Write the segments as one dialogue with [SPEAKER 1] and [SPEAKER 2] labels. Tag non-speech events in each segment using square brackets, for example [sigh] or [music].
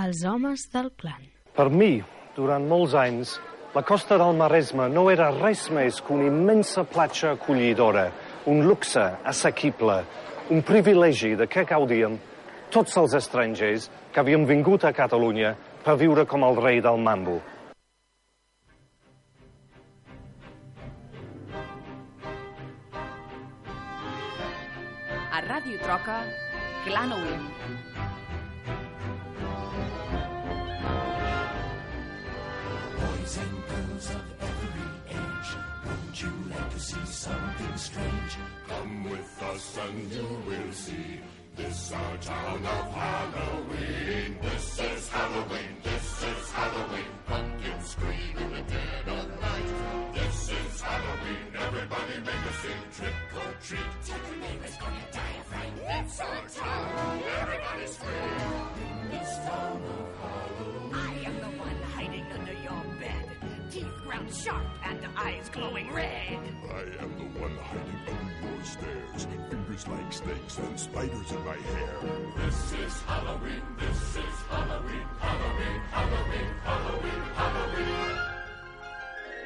[SPEAKER 1] Els homes del clan.
[SPEAKER 2] Per mi, durant molts anys, la costa del Maresme no era res més que una immensa platja acollidora, un luxe assequible, un privilegi de què gaudien tots els estrangers que havien vingut a Catalunya per viure com el rei del mambo.
[SPEAKER 3] A Ràdio Troca, Clan Owen.
[SPEAKER 4] Boys and girls of every age, wouldn't you like to see something strange? Come with us and you will see. This our town of Halloween. This is Halloween. This is Halloween. Pumpkins scream in the dead of night. This is Halloween. Everybody make a scene. Trick or treat. Tell the neighbors gonna die of fright. It's our town. Everybody's free. In this town of Halloween.
[SPEAKER 3] I am the one hiding under your bed. Teeth ground sharp and eyes glowing red.
[SPEAKER 4] I am the one hiding under your stairs. Fingers like snakes and spiders in my hair. This is Halloween. This is Halloween. Halloween. Halloween. Halloween. Halloween.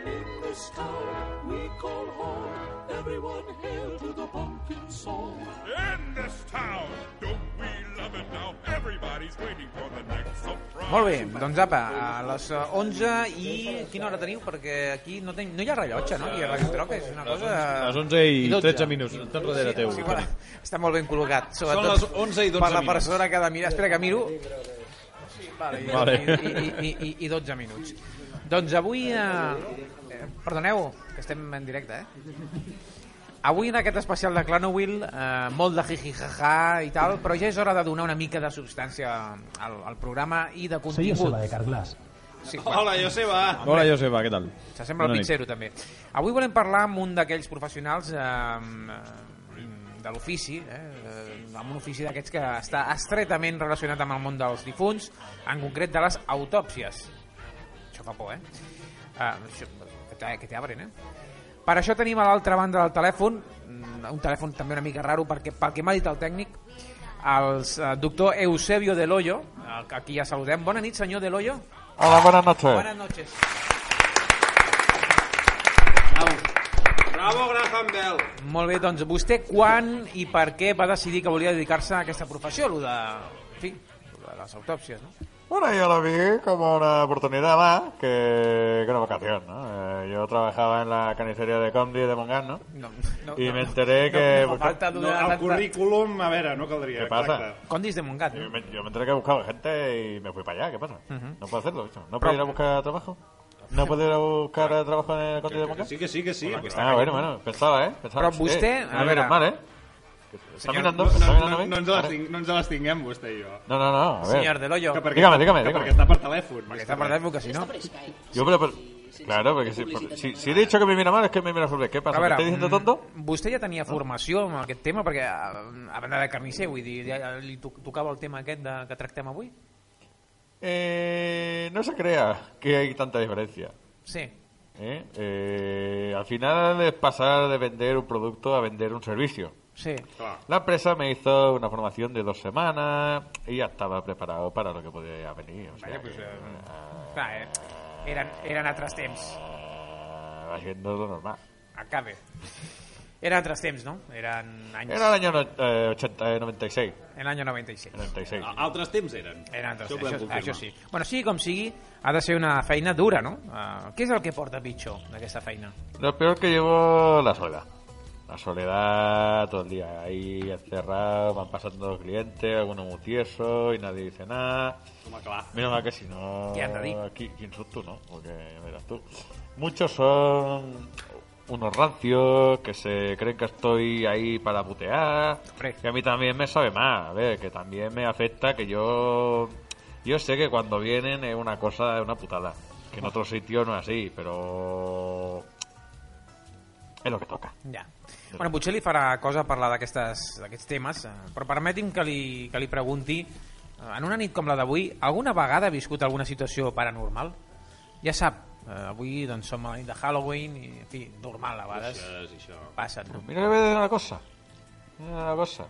[SPEAKER 4] In this town we call home. Everyone hail to the pumpkin soul. In this town, don't we love it now? Everybody's waiting for the next surprise.
[SPEAKER 5] Molt bé, doncs apa, a les eh, 11 i quina hora teniu? Perquè aquí no, ten... no hi ha rellotge, no? Aquí a Radio Troca és una cosa...
[SPEAKER 6] Les 11 i
[SPEAKER 5] 12.
[SPEAKER 6] 13 minuts, estan darrere teu.
[SPEAKER 5] Sí, bueno, està molt ben col·locat, sobretot
[SPEAKER 6] les 11 i 12
[SPEAKER 5] per la
[SPEAKER 6] minuts.
[SPEAKER 5] persona que ha de mirar. Espera, que miro. Sí, vale, i,
[SPEAKER 6] Vale.
[SPEAKER 5] I, i, i, i 12 minuts. Doncs avui... Eh, eh, perdoneu, que estem en directe, eh? Avui en aquest especial de Clanowil, eh, molt de jijijaja i tal, però ja és hora de donar una mica de substància al, al programa i de
[SPEAKER 7] Soy
[SPEAKER 5] contingut.
[SPEAKER 7] Joseba de Carglass.
[SPEAKER 5] Sí, bueno.
[SPEAKER 8] Hola, Joseba.
[SPEAKER 6] Hola, Joseba, què tal?
[SPEAKER 5] S'assembla al
[SPEAKER 6] Bona nit.
[SPEAKER 5] Pizzero, també. Avui volem parlar amb un d'aquells professionals eh, eh, de l'ofici, eh, eh, amb un ofici d'aquests que està estretament relacionat amb el món dels difunts, en concret de les autòpsies. Això fa por, eh? Ah, això, que te- que t'abren, eh? Per això tenim a l'altra banda del telèfon, mm, un telèfon també una mica raro perquè pel que m'ha dit el tècnic, el eh, doctor Eusebio Del Hoyo, el que aquí ja saludem. Bona nit, senyor Del Hoyo.
[SPEAKER 9] Hola, buenas noches.
[SPEAKER 5] Buenas noches.
[SPEAKER 8] Bravo, Graham Bell.
[SPEAKER 5] Molt bé, doncs vostè quan i per què va decidir que volia dedicar-se a aquesta professió, lo de, en fi, lo de les autòpsies, no?
[SPEAKER 9] Bueno, yo lo vi como una oportunidad más que, que una vocación, ¿no? Eh, yo trabajaba en la carnicería de Condi de Mongán, ¿no?
[SPEAKER 5] no, no
[SPEAKER 9] I
[SPEAKER 5] no,
[SPEAKER 9] m'enteré
[SPEAKER 5] no,
[SPEAKER 9] que-
[SPEAKER 5] No, fa falta
[SPEAKER 8] No,
[SPEAKER 5] donar...
[SPEAKER 8] el
[SPEAKER 5] tanta-
[SPEAKER 8] currículum, a veure, no caldria.
[SPEAKER 9] Què passa?
[SPEAKER 8] exacte.
[SPEAKER 5] Condis de Montgat,
[SPEAKER 9] Yo
[SPEAKER 5] no?
[SPEAKER 9] me, yo me enteré que buscaba gente y me fui para allá, ¿qué pasa? No puedo hacerlo, bicho. ¿No puedo ir a buscar trabajo? ¿No puedo ir a buscar eh, trabajo en el Condi de
[SPEAKER 8] Que
[SPEAKER 9] Mongán?
[SPEAKER 8] sí, que sí, que sí.
[SPEAKER 9] Ah, bueno, bueno, pensaba, ¿eh? Pensaba,
[SPEAKER 5] Però vostè, a
[SPEAKER 9] no
[SPEAKER 5] veure-
[SPEAKER 9] miras mal, ¿eh? Que te Está
[SPEAKER 5] Señor,
[SPEAKER 9] mirando,
[SPEAKER 8] No,
[SPEAKER 9] está
[SPEAKER 8] no,
[SPEAKER 9] mirando a
[SPEAKER 8] no,
[SPEAKER 9] mí.
[SPEAKER 8] no, ens les tinc, no ens les tinguem, vostè i jo.
[SPEAKER 9] No, no, no, a ver.
[SPEAKER 5] Senyor de l'Ollo,
[SPEAKER 8] Que perquè-
[SPEAKER 9] Dígame, dígame,
[SPEAKER 8] que
[SPEAKER 9] dígame.
[SPEAKER 8] Perquè està per telèfon.
[SPEAKER 5] que està per telèfon que si no...
[SPEAKER 9] Yo, pero, pero- claro, porque si, por- si, si he dicho que me mira mal, es que me mira sobre. ¿Qué pasa? ¿Me estás diciendo
[SPEAKER 5] mm,
[SPEAKER 9] tonto?
[SPEAKER 5] vostè ja
[SPEAKER 9] Ah.
[SPEAKER 5] tenia formació en aquest tema, perquè a, a banda de carnisser, vull dir, ja li to tocava el tema aquest de, que tractem avui?
[SPEAKER 9] Eh, no se crea que hay tanta diferencia.
[SPEAKER 5] Sí.
[SPEAKER 9] ¿eh? Eh, al final es pasar de vender un producto a vender un servicio.
[SPEAKER 5] Sí.
[SPEAKER 9] La empresa me hizo una formación de dos semanas y ya estaba preparado para lo que podía venir. O sea,
[SPEAKER 5] Vaya, pues,
[SPEAKER 9] que,
[SPEAKER 5] eh,
[SPEAKER 8] Ah.
[SPEAKER 5] Clar, eh? Eren, eren altres temps.
[SPEAKER 9] ah, haciendo lo normal.
[SPEAKER 5] Acabe. Eren altres temps, no? Eren anys...
[SPEAKER 9] Era el año no- eh, 80, eh, 96.
[SPEAKER 5] En l'any 96.
[SPEAKER 9] 96.
[SPEAKER 5] Ah.
[SPEAKER 8] Altres temps eren.
[SPEAKER 5] Era altres,
[SPEAKER 8] ho podem
[SPEAKER 5] això,
[SPEAKER 8] confirmar.
[SPEAKER 5] això sí. Bueno, sigui com sigui, ha de ser una feina dura, no? Uh, què és el que porta pitjor d'aquesta feina?
[SPEAKER 9] Lo peor que llevo la soledad. La soledad todo el día ahí encerrado, van pasando los clientes, algunos muy tiesos y nadie dice nada.
[SPEAKER 8] Home, clar.
[SPEAKER 9] Menos mal que si no...
[SPEAKER 5] Ya te digo.
[SPEAKER 9] aquí- ¿Quién sos tú, no? Porque ya verás tú. Muchos son unos rancios que se creen que estoy ahí para putear.
[SPEAKER 5] Hombre.
[SPEAKER 9] Que a mí también me sabe más. A ver, que también me afecta que yo... Yo sé que cuando vienen es una cosa, es una putada. Que en otro sitio no es así, pero... Es lo que toca.
[SPEAKER 5] Ja. Bueno, potser li farà cosa parlar d'aquestes- d'aquests temes, eh, però permeti'm que li, que li pregunti, eh, en una nit com la d'avui, alguna vegada ha viscut alguna situació paranormal? Ja sap, eh, avui doncs, som a la nit de Halloween i, en fi, normal a vegades
[SPEAKER 8] Això és això.
[SPEAKER 5] passen.
[SPEAKER 9] Mira que voy a decir una cosa. Una cosa.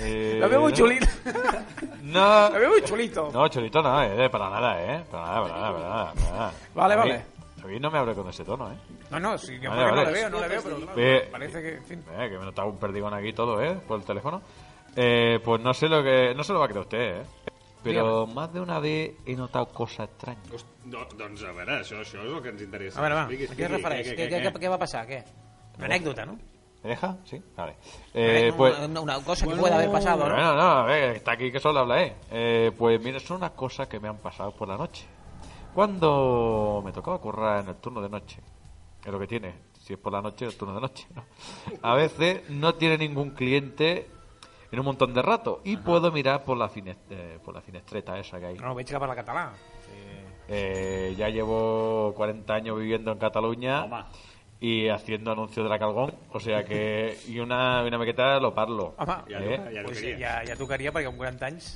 [SPEAKER 9] Eh,
[SPEAKER 5] [laughs] Lo veo muy chulito. [laughs]
[SPEAKER 9] No,
[SPEAKER 5] Lo veo muy chulito.
[SPEAKER 9] no, chulito no, eh, para nada, eh. Para nada, para nada, para nada. para nada.
[SPEAKER 5] Vale,
[SPEAKER 9] A mí-
[SPEAKER 5] vale.
[SPEAKER 9] A mí no me abre con ese tono, eh.
[SPEAKER 5] No, no, sí, yo
[SPEAKER 9] Vale,
[SPEAKER 5] porque
[SPEAKER 9] vale.
[SPEAKER 5] no le veo, no le veo, pero claro,
[SPEAKER 9] Eh,
[SPEAKER 5] parece que, en fin.
[SPEAKER 9] Eh, que me notaba un perdigón aquí todo, ¿eh? Por el teléfono. Eh, pues no sé lo que... No se lo va a creer usted, ¿eh? Pero más de una vez he notado cosas extrañas.
[SPEAKER 8] Host- No, doncs a veure, això, això és el que ens interessa.
[SPEAKER 5] A veure, va, a
[SPEAKER 8] Expliqui,
[SPEAKER 5] què es
[SPEAKER 8] expliqui,
[SPEAKER 5] refereix?
[SPEAKER 8] què,
[SPEAKER 5] Què,
[SPEAKER 8] què,
[SPEAKER 5] què,
[SPEAKER 8] què?
[SPEAKER 5] què va passar? Què? Una anècdota, no?
[SPEAKER 9] ¿Me deja? ¿Sí? Vale.
[SPEAKER 5] Una-
[SPEAKER 9] Eh, pues...
[SPEAKER 5] una, una cosa que pueda haber pasado, ¿no?
[SPEAKER 9] Bueno, no, a ver, está aquí que solo habla, ¿eh? Eh, Pues mira, son unas cosas que me han pasado por la noche. Cuando me tocaba currar en el turno de noche, es lo que tiene, si es por la noche, el turno de noche, ¿no? A veces no tiene ningún cliente en un montón de rato y puedo mirar por la, fines- eh, por la finestreta esa que hay.
[SPEAKER 5] No, veig cap a la català.
[SPEAKER 9] Eh, ya llevo 40 años viviendo en Cataluña
[SPEAKER 8] Toma.
[SPEAKER 9] y haciendo anuncios de la Calgón, o sea que... Y una, una maqueta lo parlo.
[SPEAKER 5] Home,
[SPEAKER 9] Ja
[SPEAKER 5] ja,
[SPEAKER 9] toca-
[SPEAKER 8] ja
[SPEAKER 5] ja, pues
[SPEAKER 8] tocaria.
[SPEAKER 5] ja, ja tocaria perquè amb 40 anys,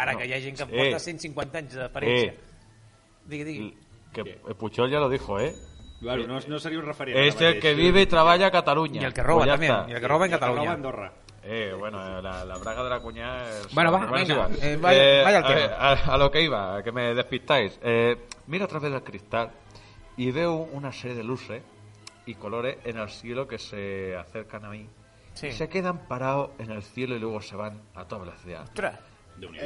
[SPEAKER 5] ara que hi ha gent que
[SPEAKER 9] Eh.
[SPEAKER 5] porta 150 anys d'experiència. Digui, digui.
[SPEAKER 9] Que Puchol ya lo dijo, ¿eh?
[SPEAKER 8] Bueno, no, no seria un referent.
[SPEAKER 9] Es
[SPEAKER 8] ara
[SPEAKER 9] el que
[SPEAKER 8] mateix.
[SPEAKER 9] vive y trabaja en Cataluña.
[SPEAKER 5] I el que roba,
[SPEAKER 9] Pues ya
[SPEAKER 5] també.
[SPEAKER 9] está.
[SPEAKER 5] I el que roba en
[SPEAKER 8] Nova
[SPEAKER 5] Catalunya.
[SPEAKER 8] Andorra.
[SPEAKER 9] Eh, bueno, eh, la, la braga de la cuñada... es-
[SPEAKER 5] Bueno, va,
[SPEAKER 9] sí
[SPEAKER 5] venga, eh, vaya- vaya al
[SPEAKER 9] a,
[SPEAKER 5] tema.
[SPEAKER 9] ver, a- a lo que iba, a que me despistáis. Eh, mira a través del cristal y veo una serie de luces y colores en el cielo que se acercan a mí.
[SPEAKER 5] Sí.
[SPEAKER 9] Y se quedan parados en el cielo y luego se van a toda velocidad.
[SPEAKER 5] Ostres,
[SPEAKER 8] déu nhi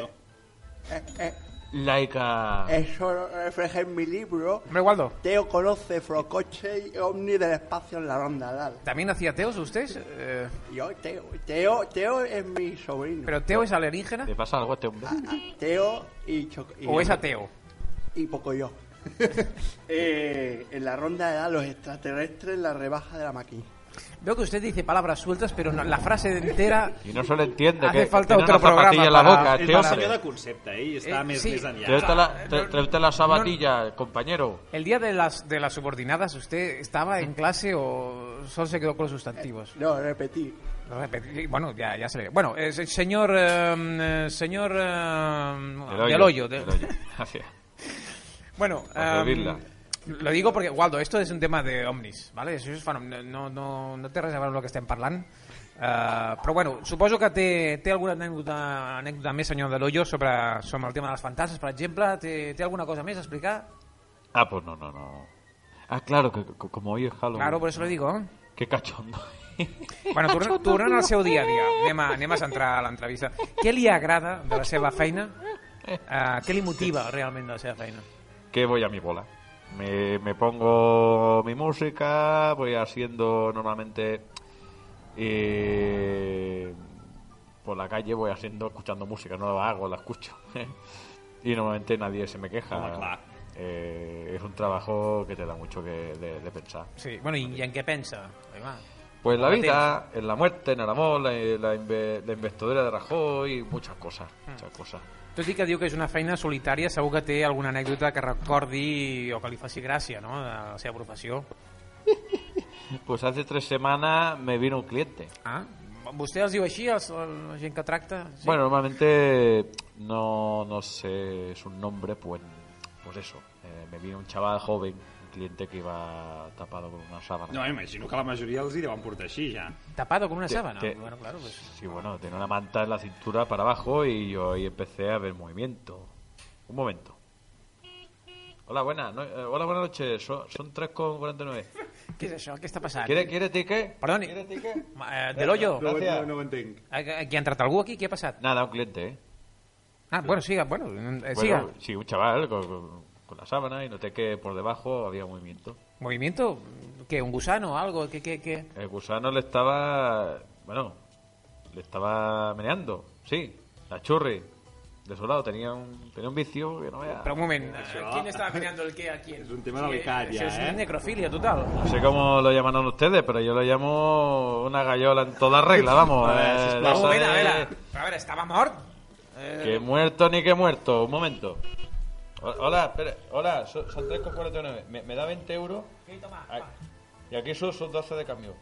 [SPEAKER 1] Eh, eh,
[SPEAKER 9] Laica...
[SPEAKER 5] Eh.
[SPEAKER 1] eso lo refleja en mi libro.
[SPEAKER 5] hombre, Waldo,
[SPEAKER 1] Teo conoce Frocoche y Omni del espacio en la ronda. Dale.
[SPEAKER 5] ¿también hacía teos usted? Eh,
[SPEAKER 1] Yo, Teo, Teo, Teo es mi sobrino.
[SPEAKER 5] ¿Pero Teo es alienígena
[SPEAKER 9] ¿Le pasa algo a este hombre?
[SPEAKER 1] Teo y, Cho- y
[SPEAKER 5] o es ateo?
[SPEAKER 1] y poco yo. Eh, en la ronda de edad, los extraterrestres, la rebaja de la máquina.
[SPEAKER 5] Veo que usted dice palabras sueltas, pero no- la frase entera...
[SPEAKER 9] Y no se le entiende
[SPEAKER 5] Hace
[SPEAKER 9] que
[SPEAKER 5] falta
[SPEAKER 9] tiene
[SPEAKER 5] otro
[SPEAKER 9] una zapatilla en la
[SPEAKER 5] programa
[SPEAKER 9] boca.
[SPEAKER 5] para-
[SPEAKER 9] este
[SPEAKER 8] És
[SPEAKER 9] tío.
[SPEAKER 8] un senyor de concepte, ell està
[SPEAKER 5] Eh,
[SPEAKER 8] més,
[SPEAKER 5] sí.
[SPEAKER 8] més enllà.
[SPEAKER 9] Tráete la, tra- tráete la sabatilla, compañero.
[SPEAKER 5] El día de las, de las subordinadas, ¿usted estaba en clase o solo se quedó con los sustantivos?
[SPEAKER 1] No, repetí.
[SPEAKER 5] Lo repetí. Bueno, ya, ya se le... Bueno, es el señor... eh, eh, señor... eh, del hoyo. de- [laughs]
[SPEAKER 9] del hoyo. Ah, Gracias.
[SPEAKER 5] Bueno,
[SPEAKER 9] Para
[SPEAKER 5] em,
[SPEAKER 9] servirla.
[SPEAKER 5] lo digo porque, Waldo, esto es un tema de omnis, ¿vale? Això és fenomen- no, no, no té res a veure amb el que estem parlant. Uh, però bueno, suposo que té, té alguna anècdota, anècdota més, senyor de l'Ollo, sobre, sobre el tema de les fantasmes, per exemple. Té, té alguna cosa més a explicar?
[SPEAKER 9] Ah, pues no, no, no. Ah, claro, que, que- como hoy es Halloween.
[SPEAKER 5] Claro, por eso lo digo. eh?
[SPEAKER 9] Qué cachondo. [laughs]
[SPEAKER 5] Bueno, torna, tornant al seu dia a dia, anem a, anem a centrar l'entrevista. Què li agrada de la seva feina? Uh, què li motiva realment de la seva feina?
[SPEAKER 9] que voy a mi bola. Me, me pongo mi música, voy haciendo normalmente... eh, por la calle voy haciendo, escuchando música, no la hago, la escucho. [laughs] y normalmente nadie se me queja.
[SPEAKER 8] Home, clar.
[SPEAKER 9] Eh, es un trabajo que te da mucho que, de- de pensar.
[SPEAKER 5] Sí, bueno, i, i en què pensa? Ai, va.
[SPEAKER 9] Pues la
[SPEAKER 5] Ahora
[SPEAKER 9] vida, en la muerte, en el amor, la, la, inve- la investidura de Rajoy, muchas cosas, muchas cosas.
[SPEAKER 5] Tot i que diu que és una feina solitària, segur que té alguna anècdota que recordi o que li faci gràcia, no?, de la seva professió.
[SPEAKER 9] Pues hace tres semanas me vino un cliente.
[SPEAKER 5] Ah? Vostè els diu així, els, la gent que tracta? Sí.
[SPEAKER 9] Bueno, normalmente no, no sé su nombre, pues, pues eso. Eh, me vino un chaval joven, un cliente que iba tapado con una sábana.
[SPEAKER 8] No, imagino que la majoria els hi deuen portar així, ja.
[SPEAKER 5] Tapado con una
[SPEAKER 9] Te-
[SPEAKER 5] sábana.
[SPEAKER 9] te-
[SPEAKER 5] Bueno, claro, pues...
[SPEAKER 9] Sí, bueno, tenía una manta en la cintura para abajo y yo ahí empecé a ver movimiento. Un momento. Hola, buenas, no- eh, hola, buenas noches. Son, son 3,49.
[SPEAKER 5] Què és això? Què està passant?
[SPEAKER 9] ¿Quiere, quiere ticket?
[SPEAKER 5] Perdoni.
[SPEAKER 9] ¿Quiere ticket?
[SPEAKER 5] Ma- Eh, de l'ollo?
[SPEAKER 8] No,
[SPEAKER 9] Gràcies.
[SPEAKER 8] no, no ho entenc.
[SPEAKER 5] Aquí ha entrat algú aquí? Què ha passat?
[SPEAKER 9] Nada, un cliente, ¿eh?
[SPEAKER 5] Ah, bueno, siga, bueno, eh, siga.
[SPEAKER 9] Bueno, sí, un chaval con, con- con la sábana y noté que por debajo había movimiento.
[SPEAKER 5] ¿Movimiento? ¿Qué? ¿Un gusano o algo? ¿Qué, qué, qué?
[SPEAKER 9] El gusano le estaba. Bueno, le estaba meneando, sí. La churri. De su lado tenía un, tenía un vicio que no vea.
[SPEAKER 5] Pero un momento,
[SPEAKER 8] Això-
[SPEAKER 5] ¿quién estaba mirando el qué a quién?
[SPEAKER 8] És un tema delicat, ja,
[SPEAKER 5] es
[SPEAKER 8] eh?
[SPEAKER 5] necrofilia total.
[SPEAKER 9] No sé cómo lo llaman ustedes, pero yo lo llamo una gallola en toda regla, vamos.
[SPEAKER 8] A ver,
[SPEAKER 9] Eh,
[SPEAKER 8] sisplau.
[SPEAKER 9] eso
[SPEAKER 5] Vamos, mira,
[SPEAKER 9] de-
[SPEAKER 5] mira. Pero A ver, ¿estaba muerto?
[SPEAKER 9] Que muerto ni que muerto, un momento. Ho- Hola, espere, hola, so- son 3,49. ¿Me, me da 20 euros? Ay, Y aquí son, son 12 de cambio.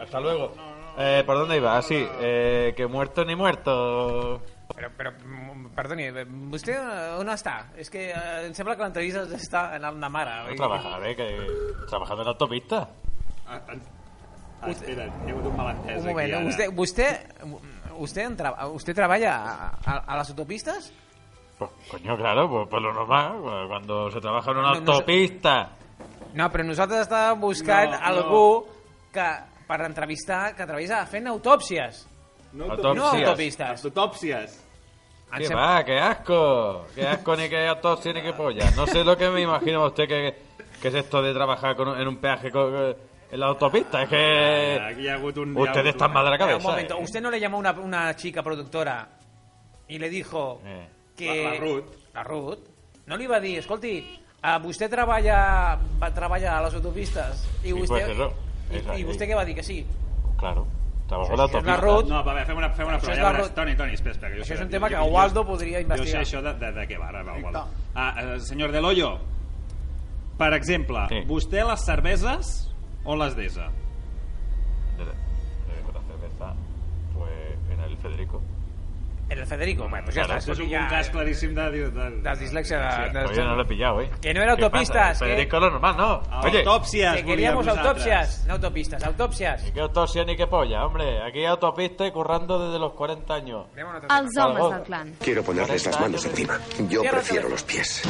[SPEAKER 9] Hasta luego. Eh, ¿Por dónde iba? Así, eh, que muerto ni muerto.
[SPEAKER 5] Pero, pero, mm, perdone, usted eh, no está. Es que eh, em sembla que l'entrevista està en una mare.
[SPEAKER 9] No trabajar, eh, que trabajando en la autopista.
[SPEAKER 8] Ah, en- Ah, espera, hi ha hagut un malentès
[SPEAKER 5] Un
[SPEAKER 8] aquí,
[SPEAKER 5] moment,
[SPEAKER 8] ara.
[SPEAKER 5] vostè, vostè, ¿Usted, entra- usted trabaja a, a- a las autopistas?
[SPEAKER 9] Pues, coño, claro, pues, pues lo normal, cuando se trabaja en una
[SPEAKER 5] No, no sé.
[SPEAKER 9] autopista.
[SPEAKER 5] No, però nosaltres estàvem buscant
[SPEAKER 8] No, no.
[SPEAKER 5] algú que per entrevistar, que treballa fent autòpsies.
[SPEAKER 8] No,
[SPEAKER 9] Autopsies.
[SPEAKER 5] No autopistes.
[SPEAKER 8] Autopsias.
[SPEAKER 5] Em
[SPEAKER 9] ¡Qué
[SPEAKER 5] sembla-
[SPEAKER 9] va! ¡Qué asco! ¡Qué asco ni qué autopsia ni qué polla! No sé lo que me imagino usted que, que es esto de trabajar con, un- en un peaje con- en la autopista. Es que...
[SPEAKER 8] Aquí hi ha hagut un...
[SPEAKER 9] Usted está mal de la
[SPEAKER 5] Espera, un
[SPEAKER 9] cabeza.
[SPEAKER 5] momento,
[SPEAKER 9] eh.
[SPEAKER 5] usted no le llamó una, una chica productora y le dijo
[SPEAKER 9] Eh.
[SPEAKER 5] que...
[SPEAKER 8] La- la Ruth.
[SPEAKER 5] La Ruth. No li va dir, escolti, a vostè treballa, va treballar a les autopistes i
[SPEAKER 9] Sí,
[SPEAKER 5] vostè...
[SPEAKER 9] pues eso. Esa,
[SPEAKER 5] i, I
[SPEAKER 9] sí.
[SPEAKER 5] vostè què va dir? Que sí.
[SPEAKER 9] Claro, trabajo
[SPEAKER 5] Això és
[SPEAKER 9] en la
[SPEAKER 5] la
[SPEAKER 9] autopista.
[SPEAKER 5] Ruth.
[SPEAKER 8] No, va bé, fem una, fem una
[SPEAKER 5] Això
[SPEAKER 8] prova.
[SPEAKER 5] és
[SPEAKER 8] Ja
[SPEAKER 5] la
[SPEAKER 8] veuràs.
[SPEAKER 5] ro-
[SPEAKER 8] Toni, Toni, espera, espera. Que jo
[SPEAKER 5] Això
[SPEAKER 8] sé-
[SPEAKER 5] és un tema
[SPEAKER 8] jo-
[SPEAKER 5] que
[SPEAKER 8] jo- jo-
[SPEAKER 5] Waldo podria
[SPEAKER 8] Jo sé
[SPEAKER 5] investigar.
[SPEAKER 8] això de, de, de què va, ara, va, Waldo. Ah, eh, senyor Del Hoyo, per exemple,
[SPEAKER 9] Sí.
[SPEAKER 8] vostè les cerveses o les desa?
[SPEAKER 9] De, de- con la cerveza, pues en el Federico.
[SPEAKER 5] El Federico. Bueno, pues ja està.
[SPEAKER 9] Claro,
[SPEAKER 8] Això és
[SPEAKER 5] escolti,
[SPEAKER 8] un,
[SPEAKER 5] ja-
[SPEAKER 8] un cas claríssim de... de, de,
[SPEAKER 5] de dislexia de- de-
[SPEAKER 9] Oye, no lo he pillado, ¿eh?
[SPEAKER 5] Que Ah, no era
[SPEAKER 9] ¿Qué
[SPEAKER 5] autopistas,
[SPEAKER 9] pasa? El
[SPEAKER 5] que-
[SPEAKER 9] Federico es lo normal, ¿no? Oye,
[SPEAKER 8] Autopsies,
[SPEAKER 5] Que queríamos
[SPEAKER 8] volíem nosaltres.
[SPEAKER 5] autopsias, no autopistes, autopsias.
[SPEAKER 9] ni qué autopsia ni qué polla, hombre. Aquí hay autopista y currando desde los 40 años.
[SPEAKER 7] Els homes del clan.
[SPEAKER 10] Quiero ponerles las manos encima. Yo
[SPEAKER 5] Cierra el
[SPEAKER 10] prefiero
[SPEAKER 5] teléfono.
[SPEAKER 10] los pies.